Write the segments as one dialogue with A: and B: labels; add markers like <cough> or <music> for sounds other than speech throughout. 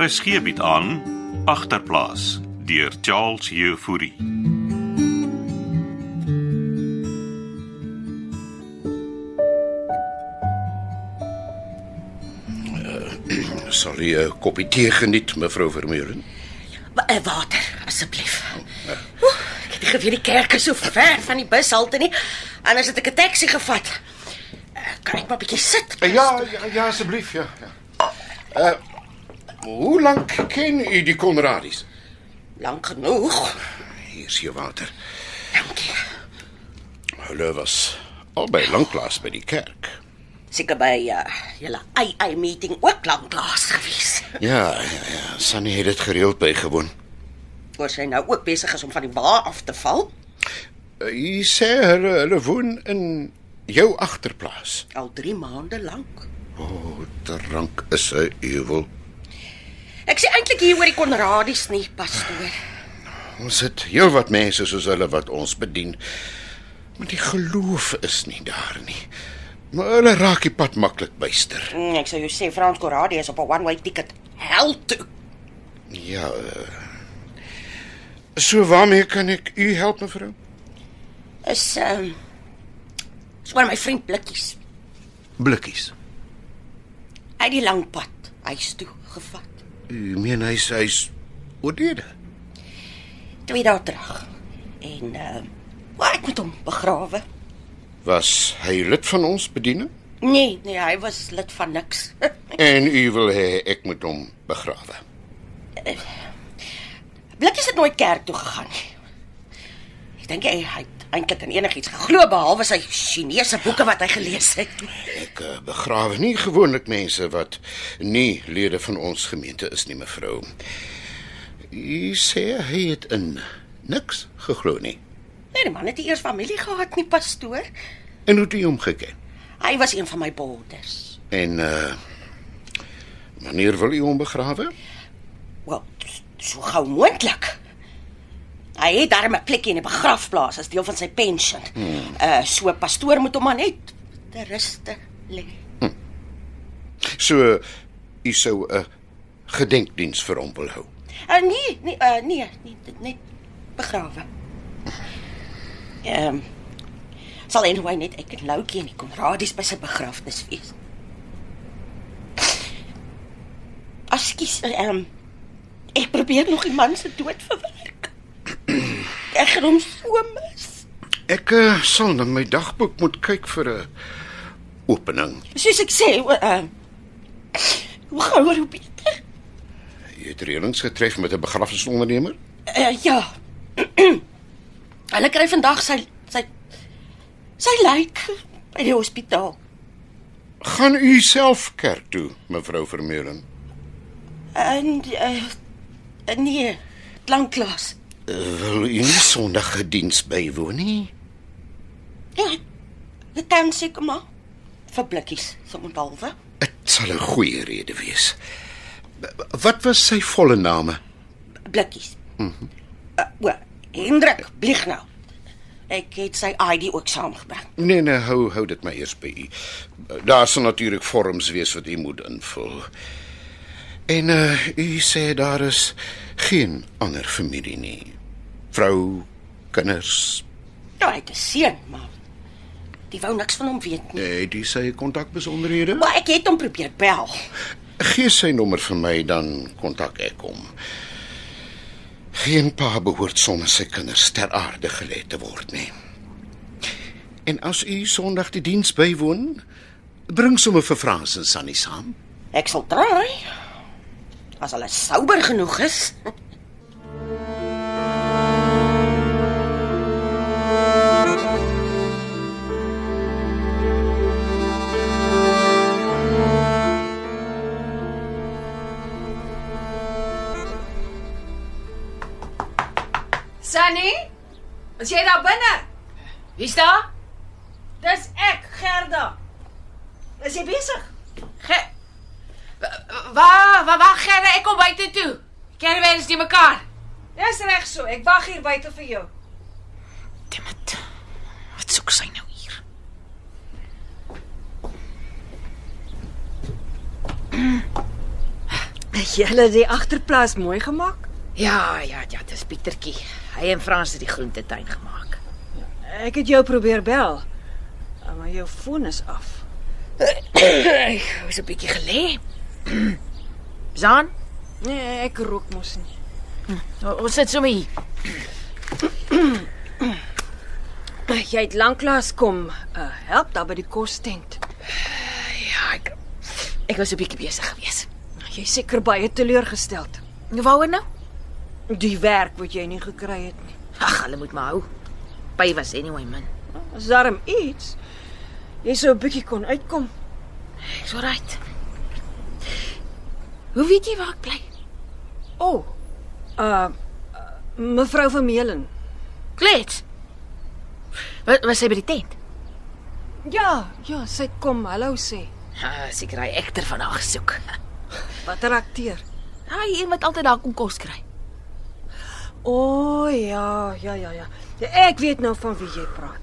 A: RSG bied Er aan agterplaas deur Charles Jefouri.
B: Sal u 'n koppie tee geniet, mevrou Vermeulen?
C: Wa- eh, Water, asseblief. Oeh, Ek het nie geweet die kerk is so ver van die bushalte nie. Anders het ek 'n taxi gevat. Eh, Kan ek maar 'n bietjie sit?
B: Eh, Ja, ja, ja asseblief, ja. ja. Uh, hoe lank ken u die Konradis?
C: Lank genoeg.
B: Hier is jou water.
C: Dankie.
B: Hulle was albei lanklaas by die kerk.
C: Seker by uh, julle AI meeting ook lank laas gewees.
B: Ja, ja, ja, Sunny het dit gereeld bygewoon.
C: Oor sy nou ook besig is om van die wa af te val.
B: Uh, Hy sê hulle, hulle woon in jou agterplaas.
C: Al 3 maande lank.
B: O, oh, drank is 'n ewel.
C: Ek sê eintlik hier oor die Konradies nie, pastoor.
B: Ons het heelwat mense soos hulle wat ons bedien. Maar die geloof is nie daar nie. Maar hulle raak die pad maklik byster.
C: Mm, ek sou jou sê Frans Konradie is op 'n one-way ticket. Hel toe.
B: Ja. eh. So waarmee kan ek u help mevrou?
C: Is ehm um, is oor my vriend blikkies.
B: Blikkies.
C: Uit die lang pad huis toe gevat.
B: U meen hy's hy's oorlede.
C: Twee dae terug. En uh waar ek met hom begrawe?
B: Was hy lid van ons bediening?
C: Nee, nee, hy was lid van niks. <laughs>
B: En u wil hê ek moet hom begrawe.
C: Blikkies het nooit kerk toe gegaan nie. Ek dink hy hy het eintlik aan enigiets geglo behalwe sy Chinese boeke wat hy gelees het.
B: Ek eh, begrawe nie gewoonlik mense wat nie lede van ons gemeente is nie, mevrou. U sê hy het in niks geglo nie.
C: Nee, die man het nie eers familie gehad nie, pastoor.
B: En hoe het u hom geken?
C: Hy was een van my borders.
B: En uh wanneer wil u hom begrawe?
C: Wel, so gou moontlik. Hy het darem 'n plekjie in 'n begrafplaas as deel van sy pensioen. Hmm. Uh so pastoor moet hom maar net ter ruste lê.
B: So u sou 'n gedenkdiens vir hom wil hou.
C: Uh, nee, nee, uh, nee, nee, dit net begrawe. Ehm um, sal anyway net ek en Loukie en die Konradies by sy begrafnis wees. Ekskuus, ehm um, ek probeer nog die man se dood verwerk. Ek gaan hom so mis.
B: Ek uh, sal na my dagboek moet kyk vir 'n opening.
C: Soos ek sê, o- ehm hoe gouer hoe beter.
B: U het reëlings getref met 'n begrafnisondernemer?
C: Uh, ja. <clears throat> Hulle kry vandag sy sy sy lyk by die hospitaal.
B: Gaan u self kerk toe, mevrou Vermeulen?
C: En uh, nee, klankklas.
B: Wil u nie Sondag diens bywoon nie?
C: Ja. Dit kan seker maar vir blikkies sommer halwe.
B: Dit sal 'n goeie rede wees. B- Wat was sy volle naam?
C: Blikkies. Mhm. Mm uh, o, Hendrik Blieg nou. Ek het sy ID ook saamgebring.
B: Nee nee, hou hou dit maar eers by u. Daar sal natuurlik vorms wees wat u moet invul. En uh, u sê daar is geen ander familie nie. Vrou, kinders,
C: Nou, hy het 'n seun, maar die wou niks van hom weet nie.
B: eh, die sy kontakbesonderhede?
C: Maar ek het hom probeer é bel.
B: Gee sy nommer vir my dan kontak ek hom. Geen pa behoort sonder sy kinders ter aarde gelê te word nie. En as u Sondag die diens bywoon, bring sommer vir Frans en Sunny saam.
C: Ek sal try. As hulle souber genoeg is.
D: Sunny, is jy daar binne? Wie's daar?
C: Dis ek, Gerda. Is jy besig?
D: Ge Waar, waar, waar gaan ek kom buite toe? Caravans die mekaar.
E: Dis reg so. Ek wag hier buite vir jou.
D: Dimmit. Wat soek sy nou hier?
F: Jy het die agterplaas mooi gemaak.
D: Ja, ja, ja, dis Pietertjie. Hy en Frans het die groentetuin gemaak.
F: Ek het jou probeer bel. Ah, Maar jou foon is af.
D: Ek was 'n bietjie gelê. <clears throat> Zaan,
F: Nee, ek rook mos nie.
D: o- ons sit sommer hier.
F: Jy het lanklaas kom uh, help daar by die kostent.
D: Ja, ek ek was 'n bietjie besig geweest.
F: Jy is seker baie teleurgesteld.
D: Waaroor nou?
F: Die werk wat jy nie gekry het nie.
D: Ag, hulle moet maar hou. By was anyway man.
F: Is daarom iets? Jy sou 'n bietjie kon uitkom.
D: Ek's alright. Hoe weet jy waar ek bly?
F: O. Oh, uh mevrou van Meulen.
D: Klets. Wat was sy by die tent?
F: Ja, ja, sy kom hallo sê.
D: Ah, seker hy ekter van haar gesoek. <laughs>
F: Watter akteur?
D: Hy een wat altyd daar kom kos kry.
F: O oh, ja, ja, ja, ja. Ja, Ek weet nou van wie jy praat.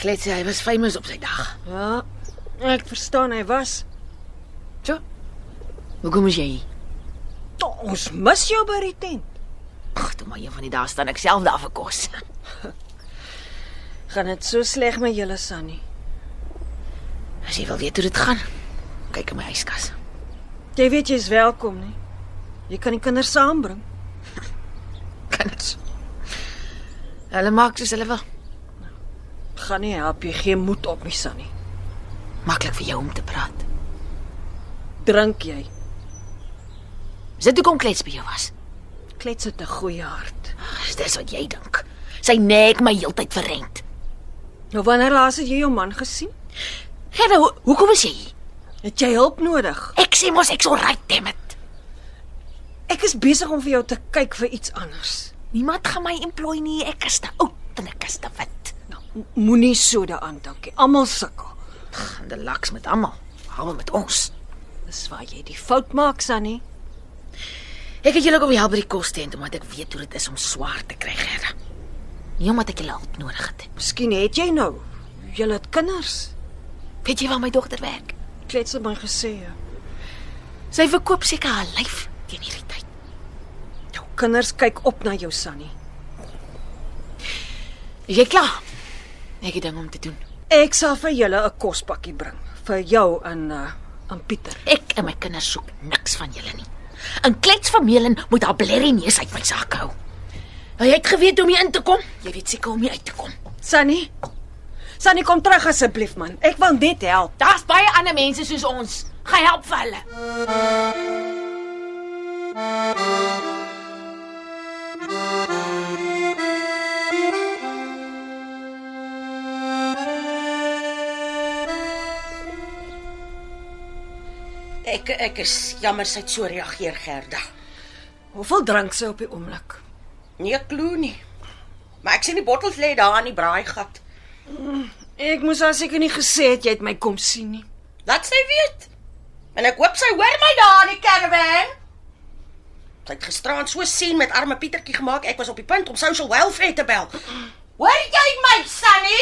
D: Klets, hy was famous op sy dag.
F: Ja. Ek verstaan hy was.
D: Hoekom is jy hier?
F: "To, Ons mis jou by die tent.
D: Ag, toe maar een van die dae staan ek self daar vir kos.
F: Gaan dit so sleg met julle Sunny?
D: As jy wil weet hoe dit gaan, kyk in my yskas.
F: Jy weet jy's welkom nie. Jy kan die kinders saambring.
D: Kan dit. so? Hulle maak soos hulle wil.
F: Gaan nie help jy gee moed op nie Sunny.
D: Maklik vir jou om te praat.
F: Drink jy?
D: Sit toe kom klets by jou was.
F: Klets uit 'n goeie hart.
D: Ag, dis wat jy dink. Sy nek my heeltyd verrent.
F: Nou wanneer laas het jy jou man gesien?
D: Gerda, ho hoekom is jy hier?
F: Het jy hulp nodig?
D: Ek sê mos ek's alright, dammit.
F: Ek is besig om vir jou te kyk vir iets anders.
D: Niemand gaan my employ nie. Ek is te oud en ek is te wit.
F: Nou, m- moenie so daaraan dink nie. Almal sukkel.
D: Gaan die laks met almal. Almal met ons.
F: Dis waar jy die fout maak, Sunny.
D: Ek het julle ook op die help by die kos tent omdat ek weet hoe dit is om swaar te kry, Gerda. Nie omdat ek julle hulp nodig het. nie.
F: Miskien het jy nou julle het kinders.
D: Weet jy waar my dogter werk?
F: Klets het my gesê ja.
D: Sy verkoop seker haar lyf teen hierdie tyd.
F: jou kinders kyk op na jou, Sunny.
D: Is jy klaar? Ek het ding om te doen.
F: Ek sal vir julle 'n kospakkie bring vir jou en uh en Pieter.
D: Ek en my kinders soek niks van julle nie. 'n Klets van Melen moet haar blerrie neus uit my sak hou. Hy het geweet hoe om hier in te kom. Jy weet seker hoe om hier uit te kom.
F: Sunny. Sunny kom terug asseblief man. Ek wil net help.
D: Daar's baie ander mense soos ons. Gaan help vir hulle.
C: Ek ek is jammer sy het so reageer Gerda.
F: Hoeveel drink sy op die oomblik?
C: Nee, klou nie. Maar ek sien die bottels lê daar in die braaigat.
F: Ek moes haar seker nie gesê het jy het my kom sien nie.
C: Laat sy weet. En ek hoop sy hoor my daar in die caravan. Sy het gisteraan so sien met arme Pietertjie gemaak. Ek was op die punt om social welfare te bel. Hoor jy my, Sunny?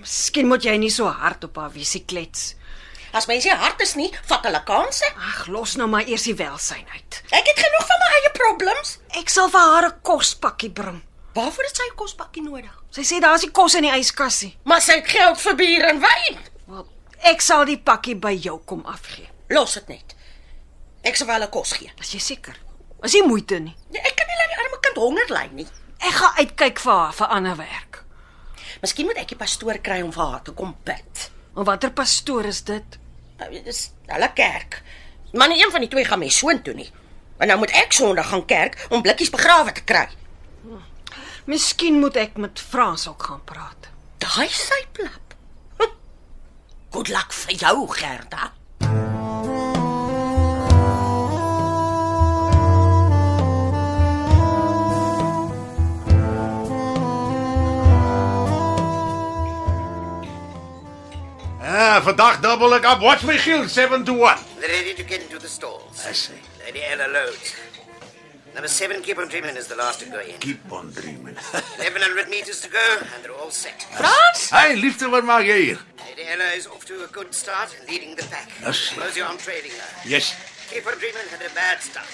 F: Miskien moet jy nie so hard op haar wees, nie, klets.
C: As mense nie hard is nie, vat hulle kanse.
F: Ag, los nou maar eers die welsyn uit.
C: Ek het genoeg van my eie problems.
F: Ek sal vir haar 'n kospakkie bring.
C: Waarvoor het sy 'n kospakkie nodig?
F: Sy sê daar's nie kos in die yskassie.
C: Maar sy het geld vir bier en wyn.
F: Wel, ek sal die pakkie by jou kom afgee.
C: Los dit net. Ek sal wel 'n kos gee.
F: As jy seker. Is nie moeite nie.
C: Nee, Ek kan nie laat die arme kind honger ly nie.
F: Ek gaan uitkyk vir haar vir ander werk.
C: Miskien moet ek die pastoor kry om vir haar te kom bid.
F: Maar watter pastoor is dit?
C: Nou, Dit is hulle kerk. Maar nie een van die twee gaan mes soontoe nie. En nou moet ek Sondag gaan kerk om blikkies begrawe te kry.
F: Miskien moet ek met Frans ook gaan praat.
C: Daai sy plap. Hm. Good luck vir jou, Gerda.
G: Ah, vandag double ek up. Watch my gill 7 to 1.
H: Ready to get into the stalls.
G: I see.
H: Lady Anna loads. Number seven, keep on dreaming, is the last to go in.
G: Keep on dreaming.
H: 1100 meters to go, and they're all set.
G: <laughs> hey, liefde, wat maak jy hier?
H: Lady Anna is off to a good start, leading the pack.
G: Yes.
H: Close your arm trailing now.
G: Yes.
H: Skipper Dreeman had a bad start.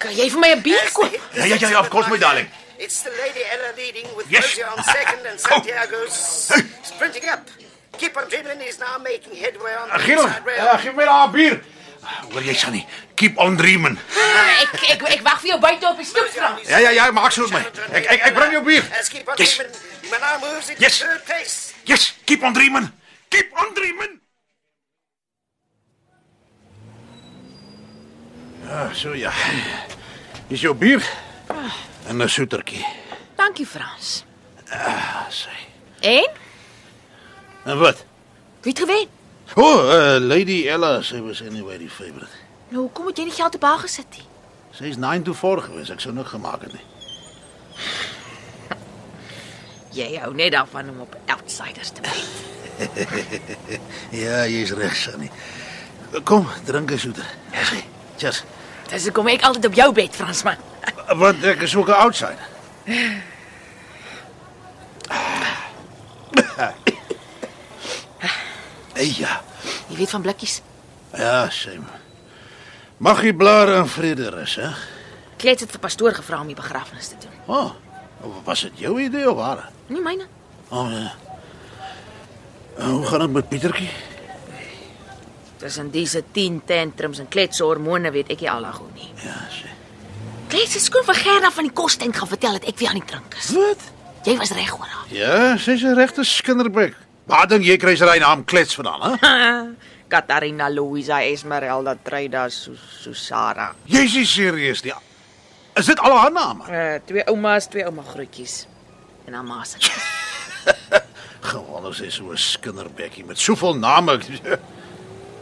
D: Kan jy vir my 'n bier
H: As the
D: koop?
H: hit
G: Yeah, yeah, yeah, of course, my darling.
H: It's the Lady Ella leading with
G: Yes.
H: Rosie on second
G: <laughs>
H: and Santiago's sprinting up. Keeper Dreeman is now making headway on the
G: Eh, Giel,
H: inside rail.
G: geef mij daar bier. Ah, Hoor jy, Sunny? Keep on dreaming.
D: Ah, Ek ek ek wag vir jou buite op die stoep, Frans.
G: Ja, ja, ja, maak so met my. Ek ek ek bring jou bier.
H: As Keeper
G: Yes.
H: Dreeman now moves into
G: Yes.
H: third place.
G: Yes, keep on dreaming. Keep on dreaming. Ah, so ja. Dis jou bier
H: Ah.
G: en 'n soetertjie.
D: Dankie, Frans.
G: Ah, sê.
D: En?
G: En wat?
D: Wie het gewen?
G: O, oh, uh, Lady Ella, sy was anyway die favorite.
D: Nou, hoekom het jy nie geld op haar gesit nie?
G: Sy is 9 to 4 gewees. Ek sou nog gemaak het nie.
D: Jy hou net daarvan om op outsiders te wen.
G: Ja, jy's reg, Sunny. Kom, drink 'n soeter. Sê. Cheers.
D: Dis hoekom ek altyd op jou bed, Fransman.
G: Want ek is ook 'n outsider. Hey, ja.
D: Jy weet van blikkies.
G: Ja, sien. Mag jy blaar in vrede rus, hè?
D: Klets het vir pastoor gevra om die begrafnis te doen.
G: O, oh, of was dit jou idee of haar?
D: Nie myne.
G: O, oh, ja. En Hoe gaan dit met Pietertjie?
D: Tussen dise 10 tantrums en kletshormone weet ek nie al hoe nie.
G: Ja, sien.
D: Klets het skoon vir Gerda van die kostent gaan vertel dat ek weer aan die drink is.
G: Wat?
D: Jy was reg oor haar.
G: Ja, sy's 'n regte skinderbek. Waar dink jy kry sy daai naam klets vandaan, hè?
D: Katarina Luisa Esmeralda Treida Susara.
G: Jy's nie serieus nie. Is dit al haar name?
D: Uh, twee oumas, twee ouma groetjies en haar ma se.
G: Gewoon, sy is so 'n skinderbekkie met soveel name.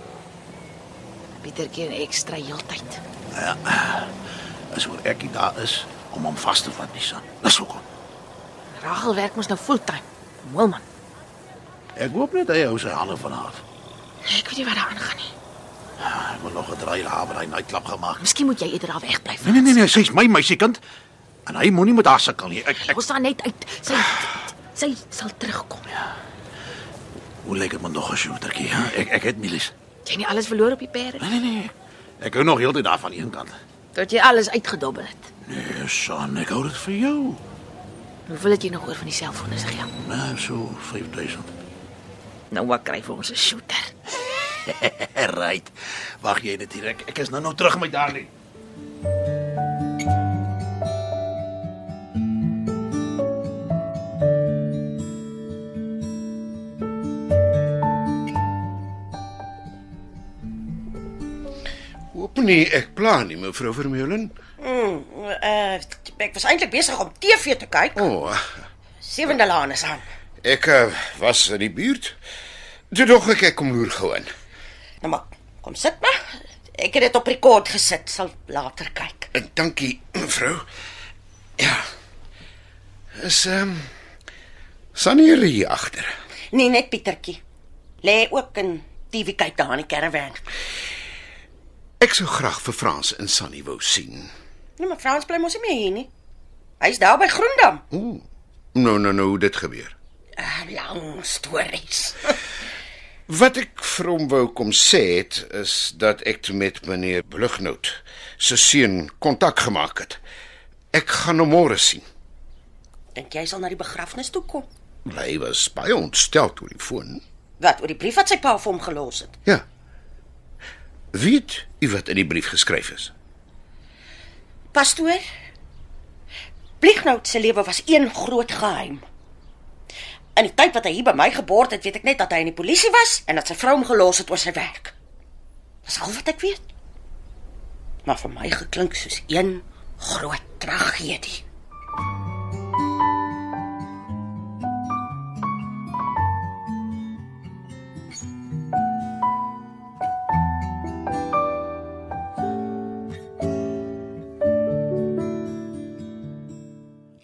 G: <laughs>
D: Pietertjie en ek stry heeltyd.
G: As oor ek nie daar is om hom vas te vat nie, son. Dis hoekom.
D: Rachel werk mos nou fulltime. Wilman,
G: Ek hoop net hy hou sy hande van haar. af.
D: ek weet nie wat daar aangaan nie.
G: Ek wil nog 'n draai daar by daai nightclub gemaak.
D: Miskien moet jy eerder daar wegbly.
G: Nee nee nee, nee sy's my meisiekind. En hy moenie met haar sukkel nie. Ek, ek
D: Ons staan net uit. Sy sy sal terugkom.
G: hoe lyk dit met nog 'n shootertjie? hè? Ek ek het nie lus.
D: Jy het nie alles verloor op die perde
G: Nee nee nee. Ek hou nog heeltyd daarvan een kant.
D: tot jy alles uitgedobbel het.
G: Nee, son, ek hou dit vir jou.
D: Hoeveel het jy nog oor van die selfone se geld?
G: Maar so 5000.
D: Nou wat kry vir ons 'n shooter?
G: <laughs> Right. Wag jy net hier. Ek, ek is nou nou terug met Darlie.
B: Hoop nie ek pla nie, mevrou Vermeulen.
C: Mm, uh, ek was eintlik besig om TV te kyk.
B: O, oh,
C: Sewende laan is aan.
B: ek eh, was in die buurt. Toe dog ek ek kom loer gou in.
C: Nou maar, kom sit maar. Ek het dit op rekord gesit, sal later kyk.
B: En Eh, dankie, mevrou. Ja. Is ehm um, Sanere hier agter.
C: Nee, net Pietertjie. Lê ook in TV kyk daar in die caravan.
B: Ek sou graag vir Frans en Sunny wou sien.
C: Nee, maar Frans bly mos nie meer hier nie. Hy's daar by Groendam.
B: Ooh. Nou nou nou hoe dit gebeur.
C: 'n Lang stories.
B: Wat ek vir hom wou kom sê het is dat ek toe met meneer Blugnout se seun kontak gemaak het. Ek gaan hom môre sien.
C: Dink jy sal na die begrafnis toe kom?
B: Hy was baie ontstel oor die foon.
C: Wat oor die brief wat sy pa vir hom gelos het?
B: Ja. Weet u wat in die brief geskryf is?
C: Pastoor, Bliegnout se lewe was een groot geheim. In die tyd wat hy hier by my gebore het, weet ek net dat hy in die polisie was en dat sy vrou hom gelos het oor sy werk. Dis al wat ek weet. Maar vir my geklink soos een groot tragedie.